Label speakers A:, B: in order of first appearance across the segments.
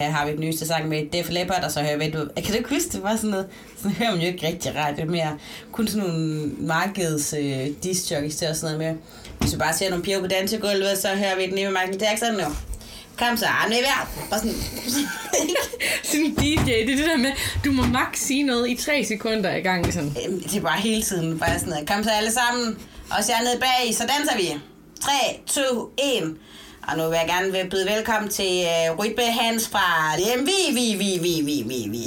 A: jeg har vi den nyeste sang med Def Leppard, og så hører jeg du... Kan du ikke huske, det var sådan noget... Sådan hører man jo ikke rigtig radio mere. Kun sådan nogle markeds øh, disjockeys til og sådan noget med. Hvis vi bare ser nogle piger på dansegulvet, så hører vi den nye Michael Jackson nu. Kom så, armene i vejr. Og sådan...
B: Sådan en DJ, det er det der med, du må max sige noget i tre sekunder i gang. Sådan.
A: Øhm, det er bare hele tiden bare sådan noget. Kom så alle sammen, og jer ned bag, så danser vi. 3, 2, 1. Og nu vil jeg gerne vil byde velkommen til uh, Rytme Hans fra DMV, vi, vi, vi, vi, vi, vi.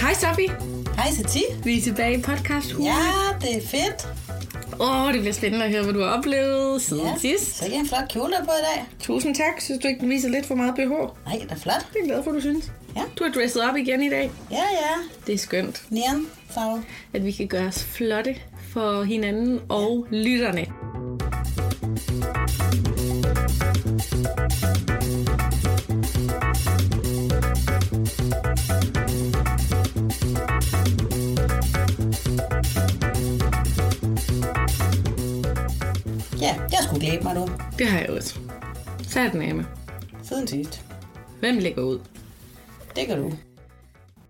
B: Hej Sofie,
A: Hej, Sati.
B: vi er tilbage i podcast
A: Ja, det er fedt.
B: Åh, det bliver spændende at høre, hvad du har oplevet siden
A: Ja.
B: ja. sidst.
A: Så ikke en flot kjole på i dag.
B: Tusind tak. Synes du ikke, den viser lidt for meget BH?
A: Nej, det er flot.
B: Det er jeg glad for, du synes.
A: Ja.
B: Du har dresset op igen i dag.
A: Ja, ja.
B: Det er skønt,
A: Næren, farve.
B: at vi kan gøre os flotte for hinanden og lytterne.
A: Ja, jeg skulle glæde mig nu.
B: Det har jeg også. Sat med.
A: Siden sidst.
B: Hvem lægger ud?
A: Det kan du.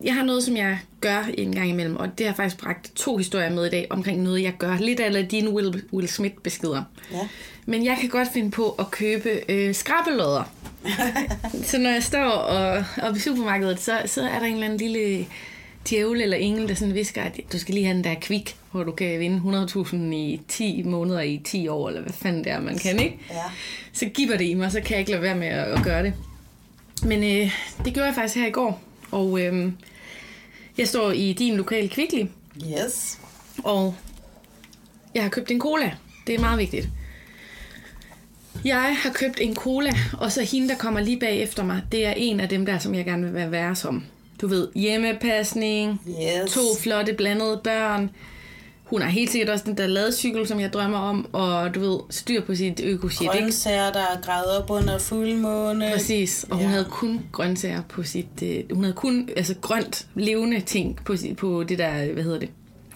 B: Jeg har noget, som jeg gør en gang imellem, og det har faktisk bragt to historier med i dag omkring noget, jeg gør. Lidt af dine Will, Will Smith-beskeder.
A: Ja.
B: Men jeg kan godt finde på at købe øh, skrabbelodder. så når jeg står og, og i supermarkedet, så, så er der en eller anden lille djævel eller engel, der sådan visker, at du skal lige have den der kvik, hvor du kan vinde 100.000 i 10 måneder i 10 år, eller hvad fanden det er, man kan, ikke?
A: Ja.
B: Så giver det i mig, så kan jeg ikke lade være med at, at gøre det. Men øh, det gjorde jeg faktisk her i går, og øh, jeg står i din lokale kvikli,
A: Yes.
B: og jeg har købt en cola. Det er meget vigtigt. Jeg har købt en cola, og så hende, der kommer lige bagefter mig, det er en af dem der, som jeg gerne vil være værre som. Du ved, hjemmepasning,
A: Yes.
B: to flotte blandede børn. Hun har helt sikkert også den der ladecykel, som jeg drømmer om, og du ved, styr på sit øko-shit, ikke?
A: grøntsager, der er gravet op under fuldmåne.
B: Præcis, og hun
A: Ja.
B: ja. havde kun grøntsager på sit... Øh, hun havde kun altså, grønt, levende ting på, sit, på det der... Hvad hedder det?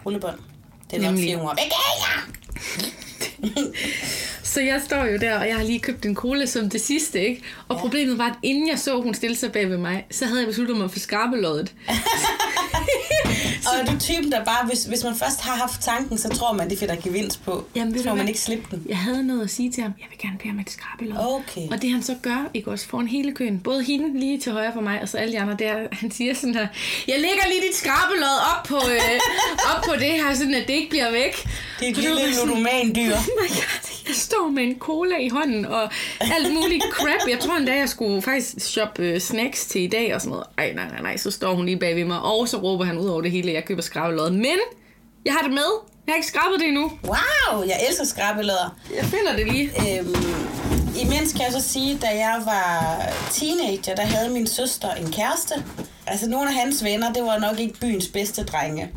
A: Rullebånd. Det er nok
B: Nemlig.
A: firmaer. Væk af jer!
B: Så jeg står jo der, og jeg har lige købt en cola som det sidste, ikke? Og ja. problemet var, at inden jeg så, hun stille sig bag ved mig, så havde jeg besluttet mig for skarpeloddet.
A: Og er du typen, der bare, hvis, hvis man først har haft tanken, så tror man, det finder gevinst på.
B: Jamen, ved
A: så
B: du
A: må man
B: hvad?
A: ikke slippe den.
B: Jeg havde noget at sige til ham. Jeg vil gerne bede om et skrabelod.
A: Okay.
B: Og det han så gør, ikke også, foran hele køen, både hende lige til højre for mig, og så alle de andre der, han siger sådan her, jeg lægger lige dit skrabelod op på, øh, op på det her, sådan at det ikke bliver væk.
A: Det er et
B: Og var
A: lille
B: sådan-
A: ludoman dyr.
B: Oh my god, jeg står med en cola i hånden og alt muligt crap. Jeg tror endda, jeg skulle faktisk shoppe øh, snacks til i dag og sådan noget. Ej, nej, nej, nej, så står hun lige bag ved mig, og så råber han ud over det hele, at jeg køber skrabelod. Men jeg har det med. Jeg har ikke skrabet det endnu.
A: Wow, jeg elsker skrabbelader.
B: Jeg finder det lige.
A: Øhm, imens kan jeg så sige, da jeg var teenager, der havde min søster en kæreste. Altså nogle af hans venner, det var nok ikke byens bedste drenge.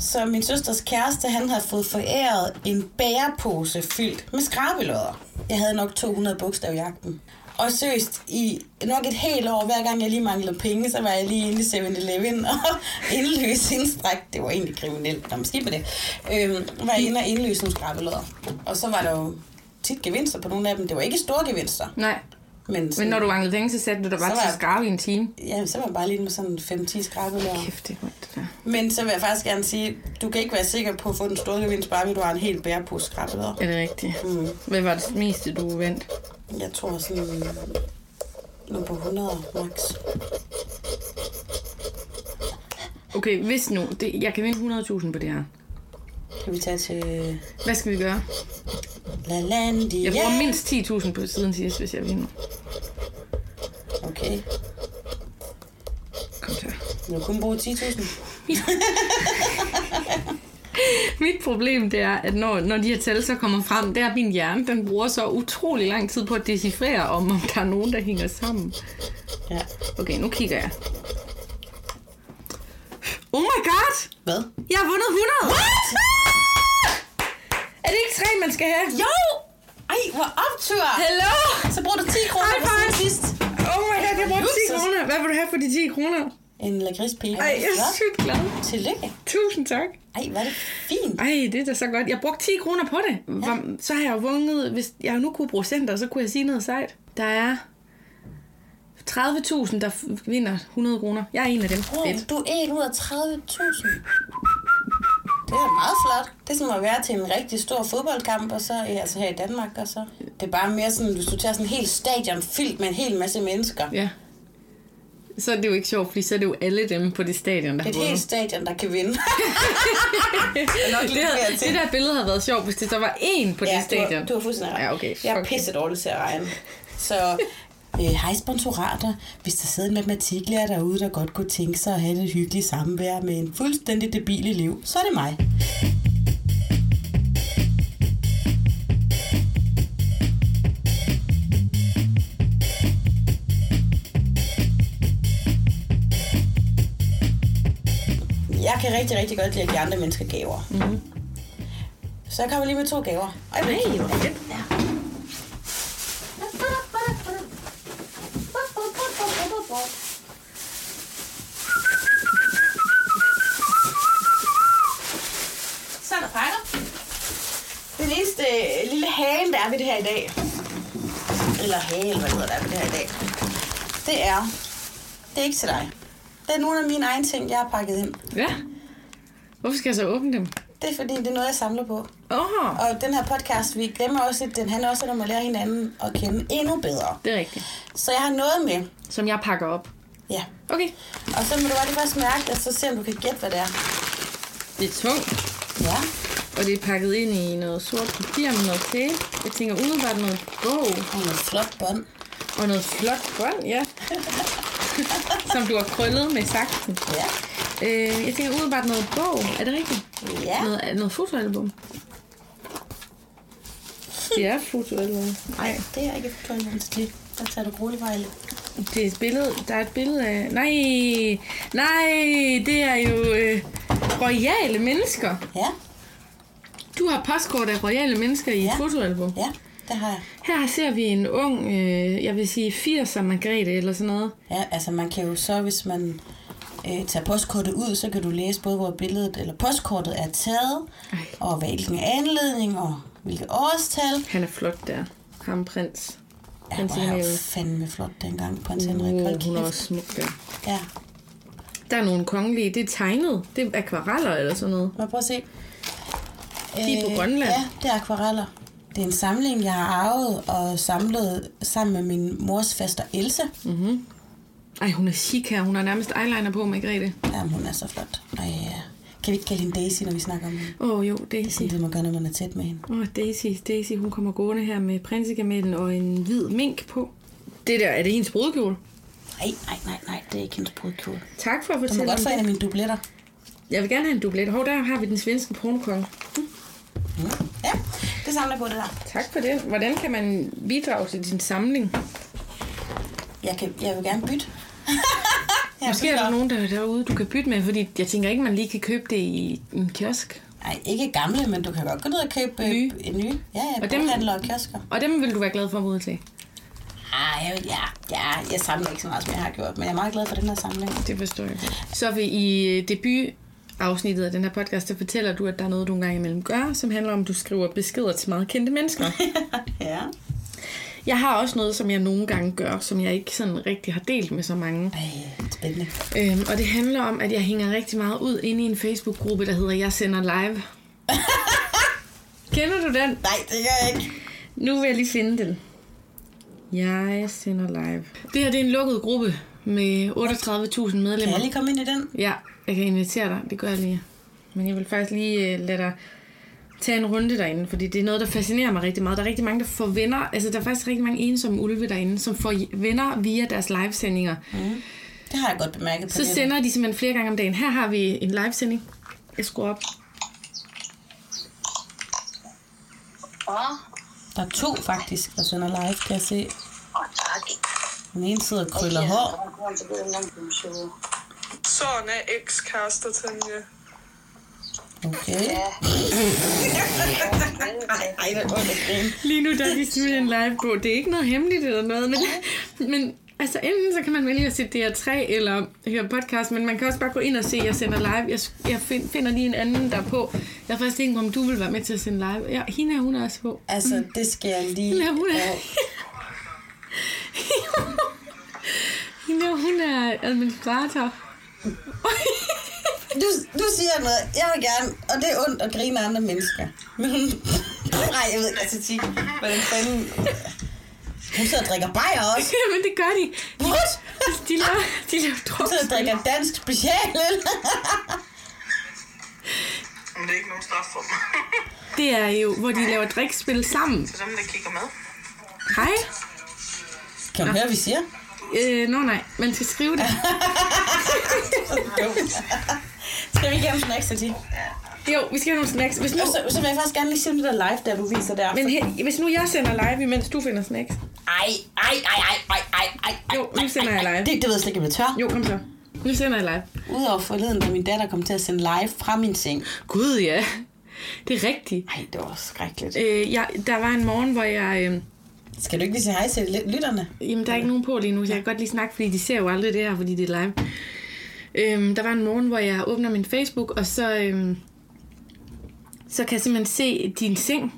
A: Så min søsters kæreste, han havde fået foræret en bærepose fyldt med skrabelodder. Jeg havde nok 200 bogstav i jagten. Og seriøst, i nok et helt år, hver gang jeg lige manglede penge, så var jeg lige inde i 7-Eleven og indløs en stræk. Det var egentlig kriminelt, når man skipper det. Øhm, var jeg inde og indløse nogle skrabelodder. Og så var der jo tit gevinster på nogle af dem. Det var ikke store gevinster.
B: Nej,
A: Men,
B: men når du manglede penge, så satte du dig
A: Så
B: bare
A: var
B: til
A: jeg-
B: at skrabe i en time.
A: Ja, så var jeg bare lige med sådan 5-10 skrabelodder.
B: Kæft, det er ondt, det der.
A: Men så vil jeg faktisk gerne sige, du kan ikke være sikker på at få den store gevinst, bare ved du har en hel bærepose skrabelodder.
B: Er det rigtigt?
A: Mm.
B: Hvad var det meste, du vandt?
A: Jeg tror sådan nu på 100 max.
B: Okay, hvis nu, det, jeg kan vinde 100.000 på det her.
A: Kan vi tage til
B: Hvad skal vi gøre?
A: La Landia?
B: Jeg bruger mindst 10.000 på siden sidst, hvis jeg vinder.
A: Okay.
B: Kom så.
A: Du kan kun bruge 10.000.
B: Mit problem det er, at når, når de her tal så kommer frem, det er, at min hjerne den bruger så utrolig lang tid på at decifrere, om, om der er nogen, der hænger sammen.
A: Ja.
B: Okay, nu kigger jeg. Oh my god!
A: Hvad?
B: Jeg har vundet 100! What? Er det ikke tre, man skal have?
A: Jo! Ej, hvor optur!
B: Hello!
A: Så bruger du 10 kroner
B: High
A: på
B: five.
A: siden sidst.
B: Oh my god, jeg brugte 10
A: Jesus.
B: kroner. Hvad vil du have for de 10 kroner?
A: En lakridspige.
B: Ej, jeg er
A: Flot.
B: sygt glad.
A: Tillykke.
B: Tusind tak.
A: Ej, hvor er det fint.
B: Ej, det er da så godt. Jeg brugte 10 kroner på det. Hvor- Så har jeg jo vunget, hvis jeg nu kunne bruge center, så kunne jeg sige noget sejt. Der er 30.000, der f- vinder 100 kroner. Jeg er en af dem.
A: Wow,
B: Fedt.
A: du er 1 ud af 30.000. Det er da meget flot. Det er som at være til en rigtig stor fodboldkamp, og så ja, altså her i Danmark, og så... Det er bare mere sådan, hvis du tager sådan en hel stadion fyldt med en hel masse mennesker. Det
B: Ja. Så er det jo ikke sjovt, fordi så er det jo alle dem på det stadion, der
A: er
B: har
A: et helt
B: vundet.
A: stadion, der kan vinde. nok lidt
B: Det, havde,
A: mere til.
B: det der billede havde været sjovt, hvis det så var én på det
A: du har,
B: stadion.
A: du har fuldstændig ret.
B: Ja, okay.
A: Jeg er
B: Fuck.
A: pisse dårlig til at regne. Så øh, hej sponsorater. Hvis der sidder en matematiklærer derude, der godt kunne tænke sig at have et hyggeligt samvær med en fuldstændig debil elev, så er det mig. Jeg kan rigtig, rigtig godt lide at give andre mennesker gaver. Mm-hmm. Så jeg kommer lige med to gaver. Og
B: Nej, hvor fedt.
A: Så er der pakker. Den eneste øh, lille hale, der er ved det her i dag, eller hale, eller hvad hedder der er ved det her i dag, det er, det er ikke til dig. Det er nogle af mine egne ting, jeg har pakket ind.
B: Ja. Hvorfor skal jeg så åbne dem?
A: Det er fordi, det er noget, jeg samler på.
B: Åh, oh,
A: Og den her podcast, vi glemmer også, at den handler også om at lære hinanden at kende endnu bedre.
B: det er rigtigt.
A: Så jeg har noget med.
B: Som jeg pakker op.
A: Ja.
B: Okay.
A: Og så må du bare lige først mærke det, og så se, om du kan gætte, hvad det er.
B: Det er tungt,
A: Ja.
B: og det er pakket ind i noget sort papir med noget tape. Jeg tænker umiddelbart noget bog
A: Og noget flot bånd.
B: og noget flot bånd, ja. Som du har krøllet med saksen.
A: Ja.
B: Øh, jeg tænker umiddelbart noget bog. Er det rigtigt?
A: Ja. Hm.
B: Noget, øh, noget fotoalbum. Det er et fotoalbum.
A: Nej, det er ikke forklaringen til det. Der tager du boligvejle.
B: Det er et billede. Der er et billede af... Nej! Nej! Det er jo øh, royale mennesker.
A: Ja.
B: Du har postkort af royale mennesker i ja. et
A: Ja.
B: fotoalbum.
A: Ja, det har jeg.
B: Her ser vi en ung, øh, jeg vil sige 80'er Margrethe eller sådan noget.
A: Ja, altså man kan jo så, hvis man øh, tager postkortet ud, så kan du læse både, hvor billedet eller postkortet er taget,
B: Ej.
A: og hvilken anledning, og hvilket årstal.
B: Han er flot der. Ham prins.
A: Ja,
B: Prins
A: hvor er jo
B: Emil.
A: fandme flot dengang, prins Henrik.
B: Uh,
A: Hold
B: hun er
A: kæft.
B: også smuk der.
A: Ja,
B: Der er nogle kongelige. Det er tegnet. Det er akvareller eller sådan noget.
A: må jeg prøve at se. Øh,
B: De er på Grønland.
A: Ja, det er akvareller. Det er en samling, jeg har arvet og samlet sammen med min mors faster Else. Mm.
B: Ej, hun er chic her. Hun har nærmest eyeliner på, Margrethe.
A: Jamen, hun er så flot. Ej, ja. Kan vi ikke kalde hende Daisy, når vi snakker om hende?
B: Åh oh, jo, Daisy.
A: Sådan det, man gør, når man er tæt med hende.
B: Åh, oh, Daisy. Daisy, hun kommer gående her med prinsegamellen og en hvid mink på. Det der, er det hendes brudkjole?
A: Nej, nej, nej, nej, det er ikke hendes brudkjole.
B: Tak for at
A: Du må
B: fortælle
A: godt
B: om
A: få en
B: det.
A: af mine dubletter.
B: Jeg vil gerne have en dublet. Hov, der har vi den svenske pornokonge.
A: Mm. Ja, det samler jeg på det der.
B: Tak for det. Hvordan kan man bidrage til din samling?
A: Jeg, kan, jeg vil gerne bytte. jeg
B: Måske er der nogen der derude, du kan bytte med, fordi jeg tænker ikke, man lige kan købe det i en kiosk.
A: Nej, ikke gamle, men du kan godt gå ned og købe øh,
B: Nye.
A: en ny. Ja, ja,
B: Og
A: og
B: dem-
A: boghandler og kiosker.
B: Og dem vil du være glad for at modtage.
A: Ah, jeg, ja, ja, jeg samler ikke så meget, som jeg har gjort, men jeg er meget glad for den her samling.
B: Det forstår jeg godt. Så vil i øh, debutafsnittet af den her podcast, der fortæller du, at der er noget, du en gang imellem gør, som handler om, at du skriver beskeder til meget kendte mennesker.
A: ja.
B: jeg har også noget, som jeg nogle gange gør, som jeg ikke sådan rigtig har delt med så mange.
A: Ej, spændende.
B: Øhm, og det handler om, at jeg hænger rigtig meget ud inde i en Facebook-gruppe, der hedder Jeg sender live. Kender du den?
A: Nej, det gør jeg ikke.
B: Nu vil jeg lige finde den. Jeg sender live. Det her det er en lukket gruppe med 38.000
A: Kan jeg
B: medlemmer.
A: lige komme ind i den?
B: Ja, jeg kan invitere dig. Det gør jeg lige. Men jeg vil faktisk lige øh, lade dig tage en runde derinde, fordi det er noget, der fascinerer mig rigtig meget. Der er rigtig mange, der får venner. Altså, der er faktisk rigtig mange ensomme ulve derinde, som får venner via deres livesendinger.
A: Det har jeg godt bemærket på
B: Så
A: nettet.
B: sender de simpelthen flere gange om dagen. Her har vi en livesending. Jeg skruer op.
C: Åh,
A: Der er to faktisk, der sender live, kan jeg se.
C: oh, tak.
A: Den ene sidder og krøller hår.
D: Sådan er ekskærester, Tanja.
A: Okay.
C: Ja.
A: Ej, ej, hvor er det grin.
B: Lige nu der er vi smidt en livebog. Det er ikke noget hemmeligt eller noget, men, men altså enten så kan man vælge at se DR3 eller høre podcast, men man kan også bare gå ind og se, jeg sender live. Jeg, jeg find, finder lige en anden der er på. Jeg har faktisk tænkt mig, om du vil være med til at sende live. Ja, hende her, hun er også på.
A: Altså, det skal jeg lige...
B: Hende her, hun er... hende her, hun er administrator.
A: Du, du siger noget, jeg vil gerne, og det er ondt at grine af andre mennesker. Men hun... Nej, jeg ved ikke, altså, sige, hvordan fanden... Hun sidder og drikker bajer også.
B: Jamen det gør de. Altså,
A: What?
B: De laver, de laver
A: Hun sidder og
B: drukspil.
A: drikker dansk special, eller?
D: Men det er ikke nogen straf for dem.
B: Det er jo, hvor de laver drikspil sammen.
D: Det er dem, der kigger med.
B: Hej.
A: Kan du høre, hvad vi siger?
B: Øh, nå nej, man skal skrive det.
A: Skal vi ikke have nogle snacks til
B: Jo, vi skal have nogle snacks. Hvis nu,
A: Og så, så vil jeg faktisk gerne lige se det der live, der du viser der.
B: men he, hvis nu jeg sender live, imens du finder snacks.
A: Ej, ej, ej, ej, ej, ej, ej, ej.
B: Jo, nu sender jeg live.
A: Det, det ved jeg slet ikke, om jeg tør.
B: Jo, kom så. Nu sender jeg live.
A: Udover forleden, da min datter kom til at sende live fra min seng.
B: Gud, ja. Det er rigtigt.
A: Ej, det var skrækkeligt.
B: Øh, jeg, der var en morgen, hvor jeg... Øh,
A: Skal du ikke lige sige hej til ly- lytterne?
B: jamen, der er ikke nogen på lige nu, så jeg kan godt lige snakke, fordi de ser jo aldrig det her, fordi det er live. Øhm, der var en morgen, hvor jeg åbner min Facebook, og så, øhm, så kan jeg simpelthen se din seng,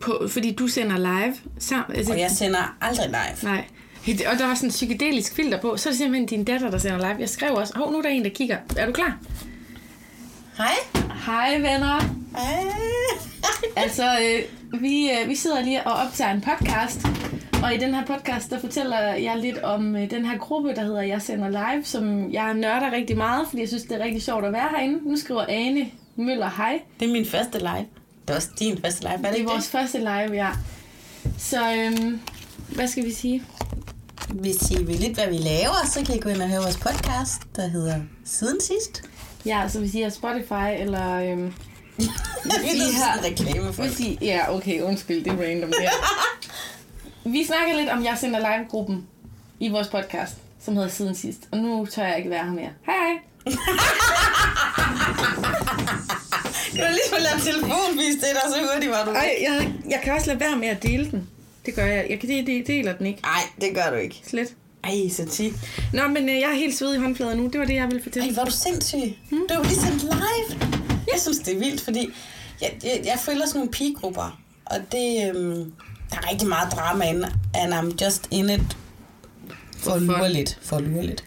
B: på, fordi du sender live. Sammen, altså,
A: Og jeg sender aldrig live.
B: Nej. Og der var sådan en psykedelisk filter på. Så er det simpelthen din datter, der sender live. Jeg skrev også, hov, nu er der en, der kigger. Er du klar?
A: Hej.
B: Hej venner.
A: Hej.
B: Altså, øh, vi, øh, vi sidder lige og optager en podcast. Og i den her podcast, der fortæller jeg lidt om øh, den her gruppe, der hedder Jeg Sender Live, som jeg nørder rigtig meget, fordi jeg synes, det er rigtig sjovt at være herinde. Nu skriver Ane Møller hej.
A: Det er min første live. Det er også din første live, er det
B: Det er
A: ikke
B: vores
A: det?
B: første live, ja. Så øhm, hvad skal vi sige?
A: Hvis I vil lidt, hvad vi laver, så kan I gå ind og høre vores podcast, der hedder Siden Sidst.
B: Ja, så hvis I har Spotify eller... Øhm,
A: det er sådan en reklame for
B: Hvis I, ja, okay, undskyld, det er random der. Vi snakker lidt om Jeg Sender Live-gruppen i vores podcast, som hedder Siden Sidst. Og nu tør jeg ikke være her mere. Hej hej!
A: Du har lige fået lavet telefonvis det der, så hurtigt var du.
B: Ej, jeg, jeg kan også lade være med at dele den. Det gør jeg. Jeg kan de, de, deler den ikke.
A: Nej, det gør du ikke.
B: Slet.
A: Ej, Sati.
B: Nå, men øh, jeg er helt sved i håndflader nu. Det var det, jeg ville
A: Ej,
B: fortælle.
A: hvor er du sindssyg. Du er jo lige sendt live. Hmm? Jeg synes, det er vildt, fordi jeg, jeg, jeg følger sådan nogle pigegrupper, og det, øhm, der er rigtig meget drama inde, and I'm just in it for at lure lidt. For at lure lidt.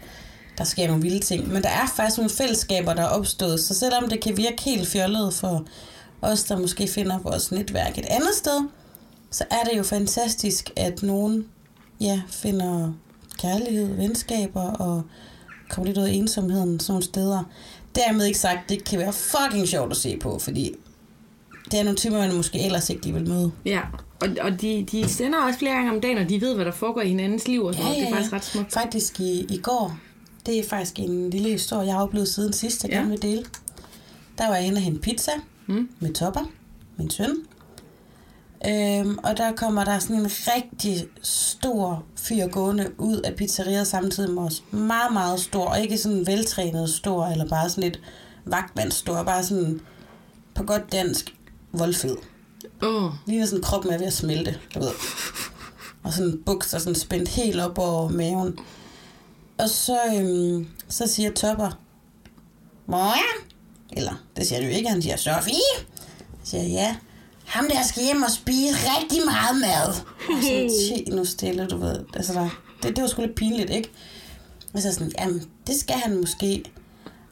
A: Der sker nogle vilde ting, men der er faktisk nogle fællesskaber, der er opstået, så selvom det kan virke helt fjollet for os, der måske finder vores netværk et andet sted, så er det jo fantastisk, at nogen ja, finder kærlighed, venskaber og kommer lidt ud af ensomheden sådan nogle steder. Dermed ikke sagt, det kan være fucking sjovt at se på, fordi det er nogle timer, man måske ellers ikke lige vil møde.
B: Ja, og, og de, de sender også flere gange om dagen, og de ved, hvad der foregår i hinandens liv. Og sådan. noget. Det er faktisk ret smukt.
A: Faktisk i, i går, det er faktisk en lille historie, jeg har oplevet siden sidst, jeg
B: Ja.
A: ja. gerne vil dele. Der var jeg inde og hente pizza
B: Mm.
A: med Topper, min søn. Øhm, og der kommer der sådan en rigtig stor fyr gående ud af pizzeriet samtidig med os. Meget, meget stor, og ikke sådan veltrænet stor, eller bare sådan lidt vagtmandsstor, bare sådan på godt dansk voldfed.
B: Åh, oh,
A: Ligner sådan, kroppen er ved at smelte, du ved. Og sådan bukser sådan spændt helt op over maven. Og så, øhm, så siger Topper, Maja? Eller, det siger du ikke, han siger, Sofie? Jeg siger, ja. Ham der skal hjem og spise rigtig meget mad. Og sådan, "Ti, nu stille, du ved. Altså, der, det, det var sgu lidt pinligt, ikke? Og så sådan, jamen, det skal han måske.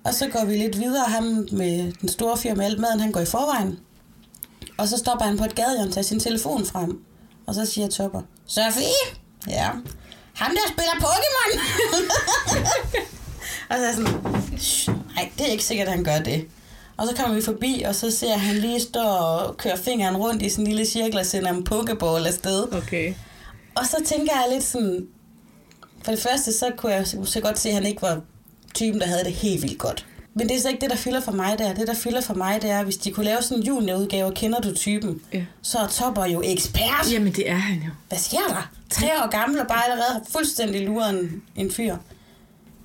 A: Og så går vi lidt videre, ham med den store fyr med alt maden, han går i forvejen. Og så stopper han på et gadehjørne, tager sin telefon frem. Og så siger Topper, Sofie? Ja. Ham der spiller Pokémon! og så er jeg sådan, "Shh, nej, det er ikke sikkert, at han gør det. Og så kommer vi forbi, og så ser jeg, at han lige står og kører fingeren rundt i sådan en lille cirkel og sender en pokeball afsted.
B: okay.
A: Og så tænker jeg lidt sådan... For det første, så kunne jeg så godt se, at han ikke var typen, der havde det helt vildt godt. Men det er så ikke det, der fylder for mig der. Det, der fylder for mig, det er, hvis de kunne lave sådan en juniorudgave, kender du typen,
B: Ja.
A: så er Topper jo ekspert.
B: Jamen, det er han jo.
A: Hvad sker der? Tre år gammel og bare allerede har fuldstændig luret en, en fyr.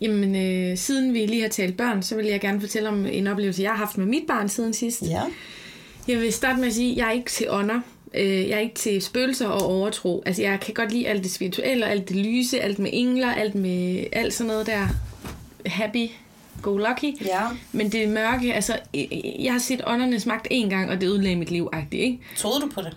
B: Jamen, øh, siden vi lige har talt børn, så vil jeg gerne fortælle om en oplevelse, jeg har haft med mit barn siden sidst.
A: Ja.
B: Jeg vil starte med at sige, at jeg er ikke til ånder. Øh, Jeg er ikke til spøgelser og overtro. Altså, jeg kan godt lide alt det spirituelle, alt det lyse, alt med engler, alt med alt sådan noget der happy go lucky.
A: Ja.
B: Men det mørke, altså, øh, jeg har set åndernes magt én gang, og det ødelagde mit liv, agtigt, ikke?
A: Troede du på det?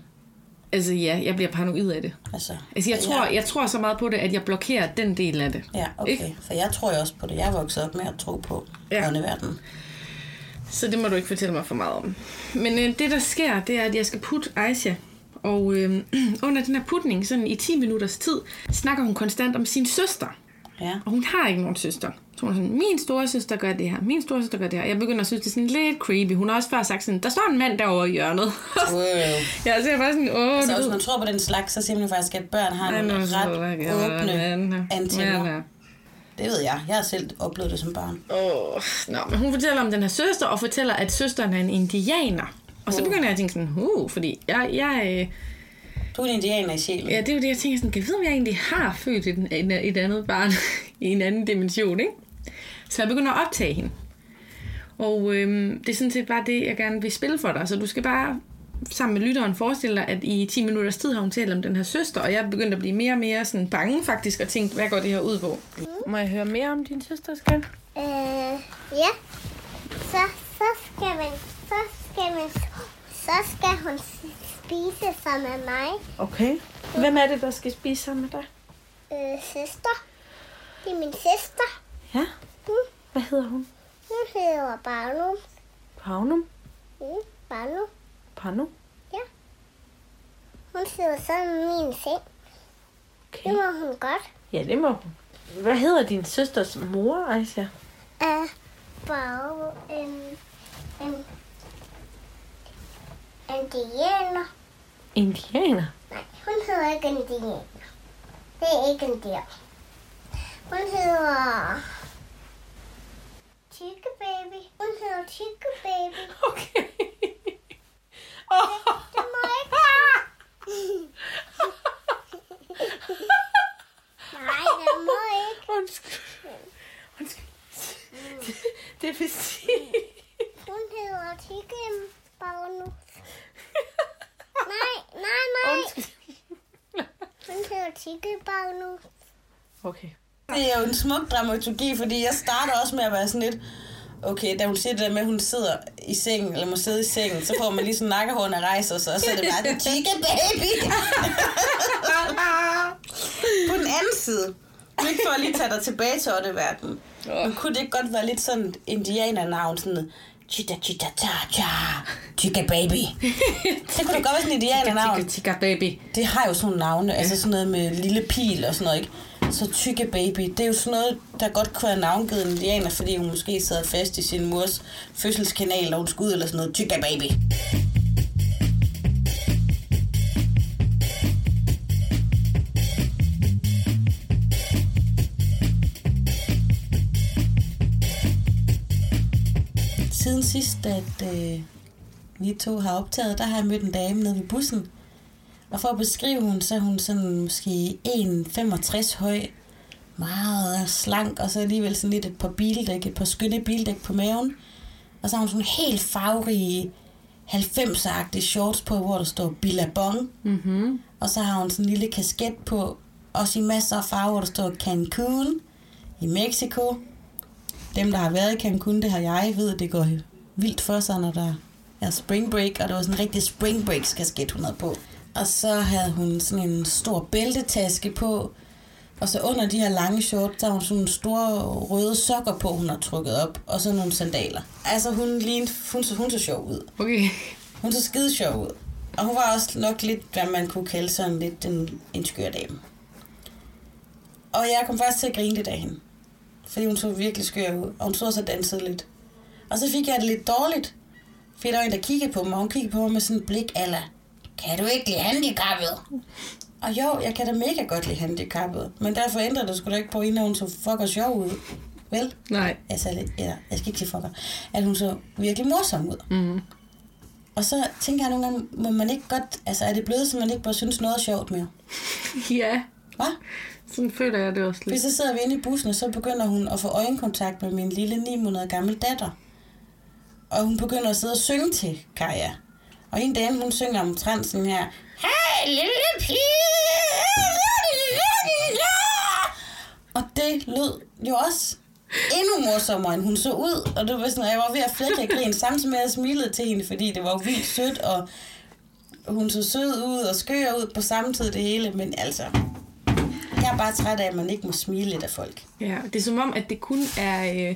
B: Altså, ja, jeg bliver paranoid af det.
A: Altså,
B: Altså, jeg tror, jeg tror så meget på det, at jeg blokerer den del af det.
A: Ja, okay.
B: Ikke?
A: For jeg tror jo også på det. Jeg er vokset op med at tro på
B: Ja.
A: ja. åndeverdenen.
B: Så det må du ikke fortælle mig for meget om. Men øh, det, der sker, det er, at jeg skal putte Aisha. Og øh, under den her putning, sådan i 10 minutters tid, snakker hun konstant om sin søster.
A: Ja.
B: Og hun har ikke nogen søster. Så hun er sådan, min store søster gør det her, min store søster gør det her. Jeg begynder at synes, det er sådan lidt creepy. Hun har også før sagt sådan, der står en mand derovre i hjørnet.
A: Wow.
B: ja, så jeg er bare sådan, åh,
A: Så
B: du
A: hvis
B: ved. altså,
A: man tror på den slags, så siger man jo faktisk, at børn har
B: Han
A: nogle
B: er
A: ret
B: så- ja,
A: åbne
B: ja,
A: antenner.
B: ja.
A: Det ved jeg. Jeg har selv oplevet det som barn.
B: Åh, nå, men hun fortæller om den her søster, og fortæller, at søsteren er en indianer. Og så begynder jeg at tænke sådan, uh, fordi jeg, jeg øh,
A: Du er en indianer i sjælen.
B: Ja, det er jo det, jeg tænker sådan, kan jeg vide, om jeg egentlig har født et, et, et andet barn i en anden dimension, ikke? Så jeg begynder at optage hende. Og øhm, det er sådan set bare det, jeg gerne vil spille for dig. Så du skal bare sammen med lytteren forestille dig, at i 10 minutters tid har hun talt om den her søster, og jeg er begyndt at blive mere og mere sådan bange faktisk, og tænkt, hvad går det her ud på? Må jeg høre mere om din søster, skal?
E: Øh, ja. Så, så skal man, så skal man, så skal hun spise sammen med mig.
B: Okay. Hvem er det, der skal spise sammen med dig?
E: Øh, søster. Det er min søster.
B: Ja.
E: Mm.
B: Hvad hedder hun?
E: Hun hedder Barnum.
B: Pagnum?
E: Mm. Barnum.
B: Pano?
E: Hun sidder sammen i min seng.
B: Okay.
E: Det må hun godt.
B: Ja, det må hun. Hvad hedder din søsters mor, Aisha?
E: Øh, bare en, en, en diæner.
B: Indianer?
E: Nej, hun hedder ikke en diæner. Det er ikke en der. Hun hedder... Tykke baby. Hun hedder Tykke baby.
B: Okay. Oh.
E: Det må jeg ikke Nej, det må jeg ikke.
B: Undskyld. Undskyld. Det vil sige...
E: Hun hedder Tykke Bagnus. Nej, nej, nej.
B: Undskyld.
E: Hun hedder Tykke Bagnus.
B: Okay.
A: Det er jo en smuk dramaturgi, fordi jeg starter også med at være sådan lidt... Okay, da hun siger det der med, at hun sidder i sengen, eller må sidde i sengen, så får man lige sådan nakkehårene rejser sig, og så er det bare den chica baby. På den anden side, ikke for at lige tage dig tilbage til åndeverdenen, men kunne det ikke godt være lidt sådan et indianernavn, sådan chita chita ta cha, chica baby. Det kunne da godt være sådan et indianernavn.
B: Tikka, tikka, baby.
A: Det har jo sådan nogle navne, altså sådan noget med lille pil og sådan noget, ikke? Så tykke baby, det er jo sådan noget, der godt kunne have navngivet en indianer, fordi hun måske sad fast i sin mors fødselskanal, og hun skulle ud eller sådan noget, tykke baby. Siden sidst, at øh, vi to har optaget, der har jeg mødt en dame nede ved bussen, og for at beskrive hun, så er hun sådan måske 1,65 høj, meget slank, og så alligevel sådan lidt et par bildæk, et par skønne bildæk på maven. Og så har hun sådan helt farverige 90'er-agtige shorts på, hvor der står Billabong. Mm-hmm. Og så har hun sådan en lille kasket på, også i masser af farver, hvor der står Cancun i Mexico. Dem, der har været i Cancun, det har jeg, ved, at det går vildt for sig, når der er spring break, og det var sådan en rigtig spring break kasket, hun havde på. Og så havde hun sådan en stor bæltetaske på, og så under de her lange shorts, der har hun sådan nogle store røde sokker på, hun har trykket op, og så nogle sandaler. Altså hun lignede, hun så, hun så sjov ud.
B: Okay.
A: Hun så skide sjov ud. Og hun var også nok lidt, hvad man kunne kalde sådan lidt en, en skør dame. Og jeg kom faktisk til at grine lidt af hende. Fordi hun så virkelig skør ud. Og hun så også og dansede lidt. Og så fik jeg det lidt dårligt. Fordi der var en, der kiggede på mig. Og hun kiggede på mig med sådan et blik, eller kan du ikke lide handicappet? Og jo, jeg kan da mega godt lide handicappet. Men derfor ændrer det sgu da ikke på, inden hun så fucker sjov ud. Vel?
B: Nej.
A: altså, eller, jeg skal ikke sige fucker, at hun så virkelig morsom ud. Mm. Og så tænker jeg nogle gange, må man ikke godt, altså er det blevet, så man ikke bare synes noget er sjovt mere?
B: Ja.
A: Hvad?
B: Sådan føler jeg det også
A: Fordi
B: lidt.
A: så sidder vi inde i bussen, og så begynder hun at få øjenkontakt med min lille 9 måneder gamle datter. Og hun begynder at sidde og synge til Kaja. Og en dame, hun synger omtrent sådan her. Hej, lille pige! Og det lød jo også endnu morsommere, end hun så ud. Og det var sådan, og jeg var ved at flække af grin, samtidig med at jeg smilede til hende, fordi det var jo vildt sødt, og hun så sød ud og skør ud på samme tid det hele. Men altså, jeg er bare træt af, at man ikke må smile lidt af folk.
B: Ja, det er som om, at det kun er øh,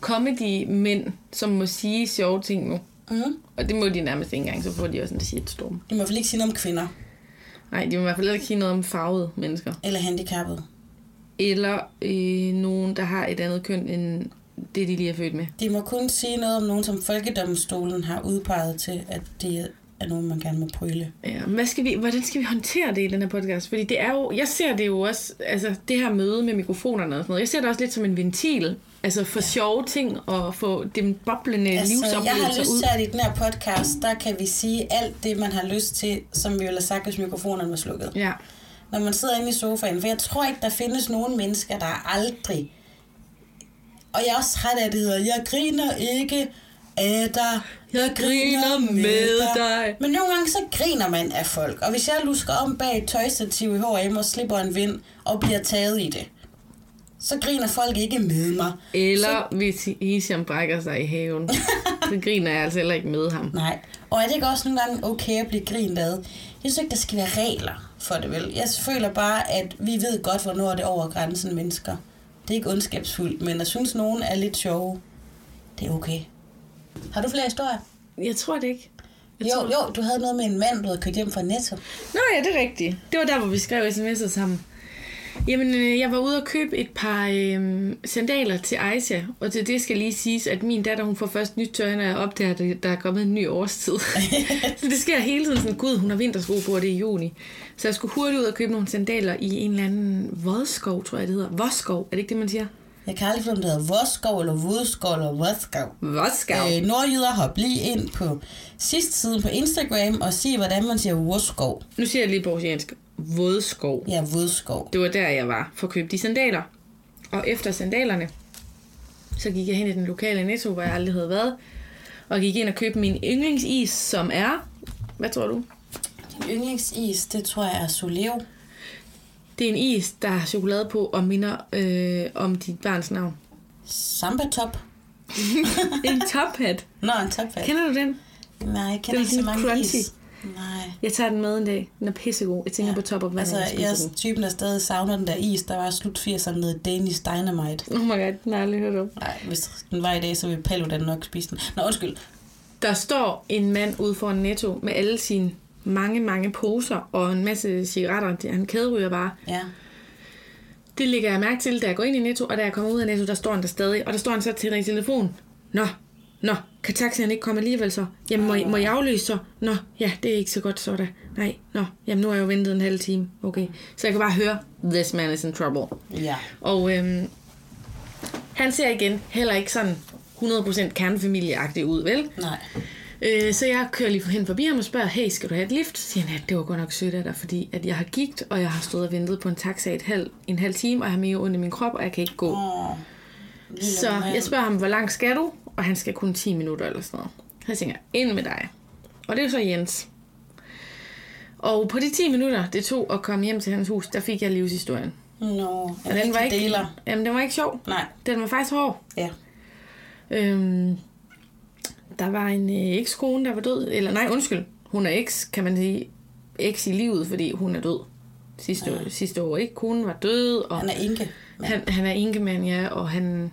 B: comedy-mænd, som må sige sjove ting nu.
A: Mm.
B: Og det må de nærmest ikke engang, så får de også en shitstorm.
A: Det må i hvert fald ikke sige noget om kvinder
B: Nej, de må i hvert fald ikke sige noget om farvede mennesker.
A: eller handicappede.
B: Eller øh, nogen, der har et andet køn end det, de lige er født med.
A: De må kun sige noget om nogen, som Folkedomstolen har udpeget til, at det er nogen, man gerne må prøle.
B: Ja, men hvad skal vi, hvordan skal vi håndtere det i den her podcast? Fordi det er jo, jeg ser det jo også, altså det her møde med mikrofonerne og sådan noget, jeg ser det også lidt som en ventil, altså for sjove ting og få dem boblende altså,
A: Altså, jeg har
B: livsoplevelser
A: lyst
B: ud.
A: til, at i den her podcast, der kan vi sige alt det, man har lyst til, som vi ville have sagt, hvis mikrofonerne var slukket.
B: Ja,
A: Når man sidder inde i sofaen, for jeg tror ikke, der findes nogen mennesker, der aldrig... Og jeg er også træt af, at det hedder, jeg griner ikke af dig.
B: Jeg griner med dig.
A: Men nogle gange, så griner man af folk. Og hvis jeg lusker om bag et tøjstativ i H&M og slipper en vind og bliver taget i det, så griner folk ikke med mig.
B: eller så... hvis Isham brækker sig i haven, så griner jeg altså heller ikke med ham.
A: Nej. Og er det ikke også nogle gange okay at blive grint ad? Jeg synes ikke, der skal være regler for det, vel? Jeg føler bare, at vi ved godt, hvornår det er over grænsen mennesker. Det er ikke ondskabsfuldt, men jeg synes, nogen er lidt sjove. Det er okay. Har du flere historier?
B: Jeg tror det ikke. Jeg
A: Jo,
B: tror...
A: jo, du havde noget med en mand, du havde kørt hjem fra Netto.
B: Nå ja, det er rigtigt. Det var der, hvor vi skrev sms'er sammen. Jamen, øh, jeg var ude og købe et par øh, sandaler til Aisha, og til det skal lige siges, at min datter, hun får først nyt tøj, når jeg opdager, at det- der er kommet en ny årstid. så det sker hele tiden sådan, gud, hun har vintersko på, og det er juni. Så jeg skulle hurtigt ud og købe nogle sandaler i en eller anden vodskov, tror jeg det hedder. Vodskov, er det ikke det, man siger?
A: Jeg kan aldrig finde, ud af, om det hedder Voskov eller Vodskov eller Vodskov.
B: Vodskov.
A: Øh, nordjyder har blivet ind på sidste siden på Instagram og sige, hvordan man siger Vodskov.
B: Nu siger jeg lige på oceansk. Vodskov.
A: Ja, Vodskov.
B: Det var der, jeg var for at købe de sandaler. Og efter sandalerne, så gik jeg hen i den lokale netto, hvor jeg aldrig havde været, og gik ind og købte min yndlingsis, som er... Hvad tror du?
A: Din yndlingsis, det tror jeg er Soleo.
B: Det er en is, der har chokolade på og minder øh, om dit barns navn.
A: Samba top.
B: En top hat.
A: Nå, en topfald.
B: Kender du den?
A: Nej, jeg kender
B: Den er
A: ikke så
B: sådan
A: mange
B: crunchy.
A: is. Nej.
B: Jeg tager den med en dag. Den er pissegod. Jeg tænker ja. på top op hver
A: Altså,
B: altså, jeg
A: jeg
B: spiser
A: er typen, der stadig savner den der is, der var slut 80'erne nede i Danish Dynamite.
B: den. Oh my god, den har jeg aldrig hørt om.
A: Nej, hvis den var i dag, så ville Paludan nok spise den. Nå, undskyld.
B: Der står en mand ude foran Netto med alle sine mange, mange poser og en masse cigaretter. Han kæderyger bare.
A: Ja.
B: Det lægger jeg mærke til, da jeg går ind i Netto, og da jeg kommer ud af Netto, der står han der stadig, og der står han så til dig i telefonen. Nå, nå, kan taxaen ikke komme alligevel så? Jamen, må, I- må jeg afløse så? Nå, ja, det er ikke så godt så da. Nej, nå, jamen nu har jeg jo ventet en halv time. Okay, så jeg kan bare høre, this man is in trouble.
A: Ja.
B: Og øhm, han ser igen heller ikke sådan 100% kernefamilieagtig ud, vel?
A: Nej.
B: Øh, så jeg kører lige hen forbi ham og spørger, hey, skal du have et lift? Så siger han, ja, det var godt nok sødt af dig, fordi at jeg har gigt, og jeg har stået og ventet på en taxa i et halv, en halv time, og jeg har mega ondt i min krop, og jeg kan ikke gå.
A: Åh, lille
B: så
A: mand.
B: jeg spørger ham, hvor langt skal du? Og han skal kun 10 minutter eller sådan noget. Så jeg tænker, ind med dig. Og det er jo så Jens. Og på de 10 minutter, det tog at komme hjem til hans hus, der fik jeg livshistorien.
A: Nå,
B: Og den var ikke,
A: deler.
B: jamen, den var ikke sjov.
A: Nej.
B: Den var faktisk hård.
A: Ja.
B: Øhm, der var en øh, ekskone, der var død. Eller nej, undskyld. Hun er eks, kan man sige. Eks i livet, fordi hun er død. Sidste, ja. sidste år, ikke? Konen var død, og
A: Han er enke.
B: han, han er enkemand, ja, og han,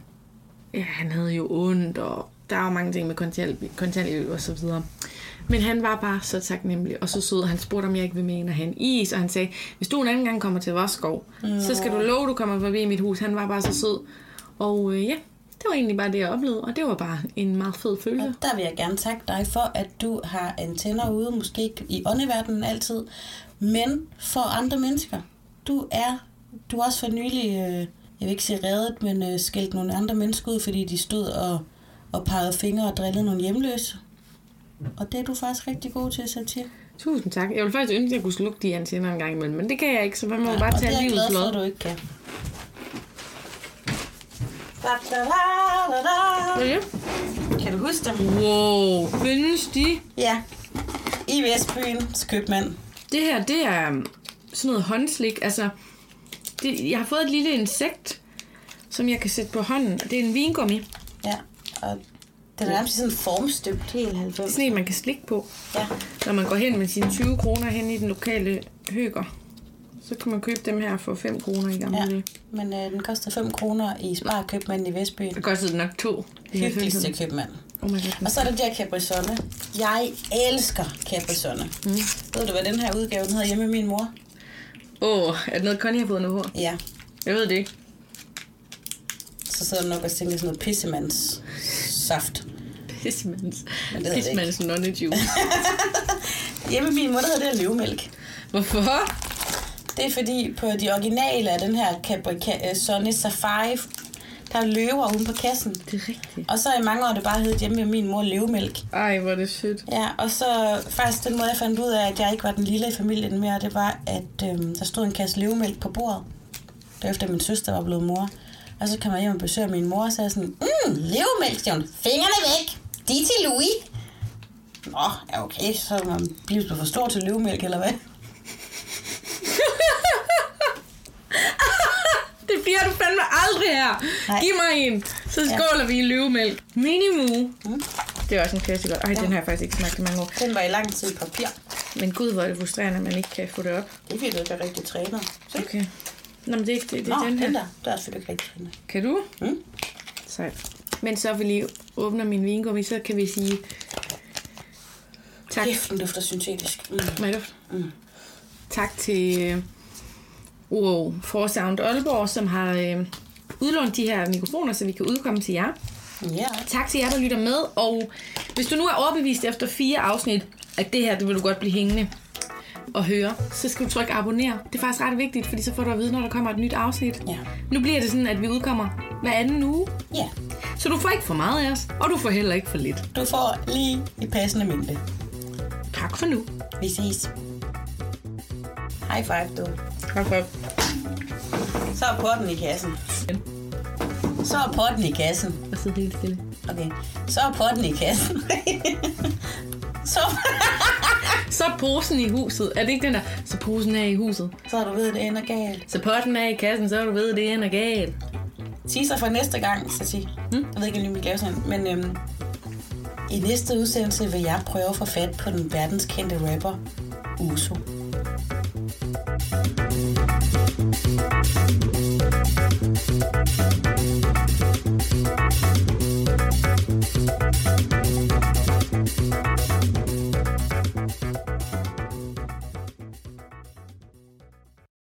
B: ja, han havde jo ondt, og der er jo mange ting med kontanthjælp- kontanthjælp og så videre. Men han var bare så taknemmelig, og så sød, og han spurgte, om jeg ikke ville med ind og have en is, og han sagde, hvis du en anden gang kommer til Voskov, så skal du love, du kommer forbi mit hus. Han var bare så sød. Og øh, ja, det var egentlig bare det, jeg oplevede, og det var bare en meget fed
A: Og
B: følelse.
A: der vil jeg gerne takke dig for, at du har antenner ude, måske ikke i åndeverdenen altid, men for andre mennesker. Du er, du har også for nylig, øh, jeg vil ikke sige reddet, men øh, skældt nogle andre mennesker ud, fordi de stod og, og pegede fingre og drillede nogle hjemløse. Og det er du faktisk rigtig god til, Satir.
B: Tusind tak. Jeg ville faktisk ønske, at jeg kunne slukke de antenner en gang imellem, men det kan jeg ikke, så man må ja,
A: Ja,
B: bare
A: og det er
B: tage
A: jeg
B: livets
A: glad for,
B: lod.
A: at du ikke kan. Da, da, da, da, da.
B: Hvad er det?
A: Kan du huske dem?
B: Wow, findes de?
A: Ja. I Vestbyens købmand.
B: Det her, det er øhm, sådan noget håndslik. Altså, det, jeg har fået et lille insekt, som jeg kan sætte på hånden. Det er en vingummi.
A: Ja. Og det er nærmest sådan formstøbt helt 90.
B: Sådan en, man kan slikke på.
A: Ja.
B: Når man går hen med sine 20 kroner hen i den lokale høger, så kan man købe dem her for 5 kroner i gamle
A: ja.
B: ja.
A: Men øh, den koster 5 kroner i Spar Købmanden i Vestbyen.
B: Det kostede nok to.
A: Hyggeligste købmand.
B: Oh my god.
A: Og så er der de her Capri-Sonne. Jeg elsker Capri-Sonne. Mm. Ved du, hvad den her udgave den hedder hjemme med min mor?
B: Åh, oh, er det noget, Connie har fået nu på?
A: Ja.
B: Jeg ved det ikke.
A: Så sidder du nok og tænker sådan noget pissemands saft.
B: Pissmans.
A: ved jeg ikke.
B: Pissmans nonnejuice.
A: Hjemme med min mor, der hedder det her løvemælk.
B: Hvorfor?
A: Det er fordi på de originale af den her Capri Ca- Sonne Safari, der er løver ude på kassen.
B: Det er rigtigt.
A: Og så i mange år har det bare heddet hjemme med min mor løvemælk.
B: Ej, hvor er det sødt.
A: Ja, og så faktisk den måde, jeg fandt ud af, at jeg ikke var den lille i familien mere, det var, at øhm, der stod en kasse levemælk på bordet. Det var efter, min søster var blevet mor. Og så kom jeg hjem og besøgte min mor, og så er jeg sådan, mm, levemælk, siger hun. Fingrene væk. De er til Louis. Nå, ja okay, så er man blevet for stor til levemælk, eller hvad?
B: Det bliver du fandme aldrig her.
A: Nej.
B: Giv mig en. Så skåler ja. vi i løvemælk. Minimu. Mm. Det er også en klassiker. Ej, ja. den har jeg faktisk ikke smagt i mange år.
A: Den var i lang tid i papir.
B: Men gud, hvor er det frustrerende, at man ikke kan få det op.
A: Det er fordi, du ikke er rigtig træner. Se.
B: Okay. Nå, men det er ikke det. Det
A: Nå,
B: er den her.
A: der. Der er selvfølgelig ikke rigtig træner.
B: Kan du?
A: Mm.
B: Sejt. Men så vi lige åbner min vingummi, så kan vi sige tak.
A: Kæft, den dufter syntetisk. Mm.
B: Må jeg dufte? Tak til øh, wow, Forsound Aalborg, som har øh, udlånt de her mikrofoner, så vi kan udkomme til jer.
A: Ja.
B: Tak til jer, der lytter med, og hvis du nu er overbevist efter fire afsnit, at det her, det vil du godt blive hængende og høre, så skal du trykke abonner. Det er faktisk ret vigtigt, fordi så får du at vide, når der kommer et nyt afsnit.
A: Ja.
B: Nu bliver det sådan, at vi udkommer hver anden uge,
A: Ja.
B: så du får ikke for meget af os, og du får heller ikke for lidt.
A: Du får lige i passende mængde.
B: Tak for nu.
A: Vi ses. High five, du.
B: Tak for
A: Så er potten i kassen. Så er potten i kassen.
B: at sidde helt stille.
A: Okay. Så er potten i kassen. så,
B: Så er posen i huset. Er det ikke den der? Så posen er i huset.
A: så har du ved, det ender galt.
B: Så potten er i kassen, så er du ved, det ender galt.
A: Teaser for næste gang, så sig. Hmm? Jeg ved ikke, om vi kan lave sådan, men øhm, i næste udsendelse vil jeg prøve at få fat på den verdenskendte rapper, Uso.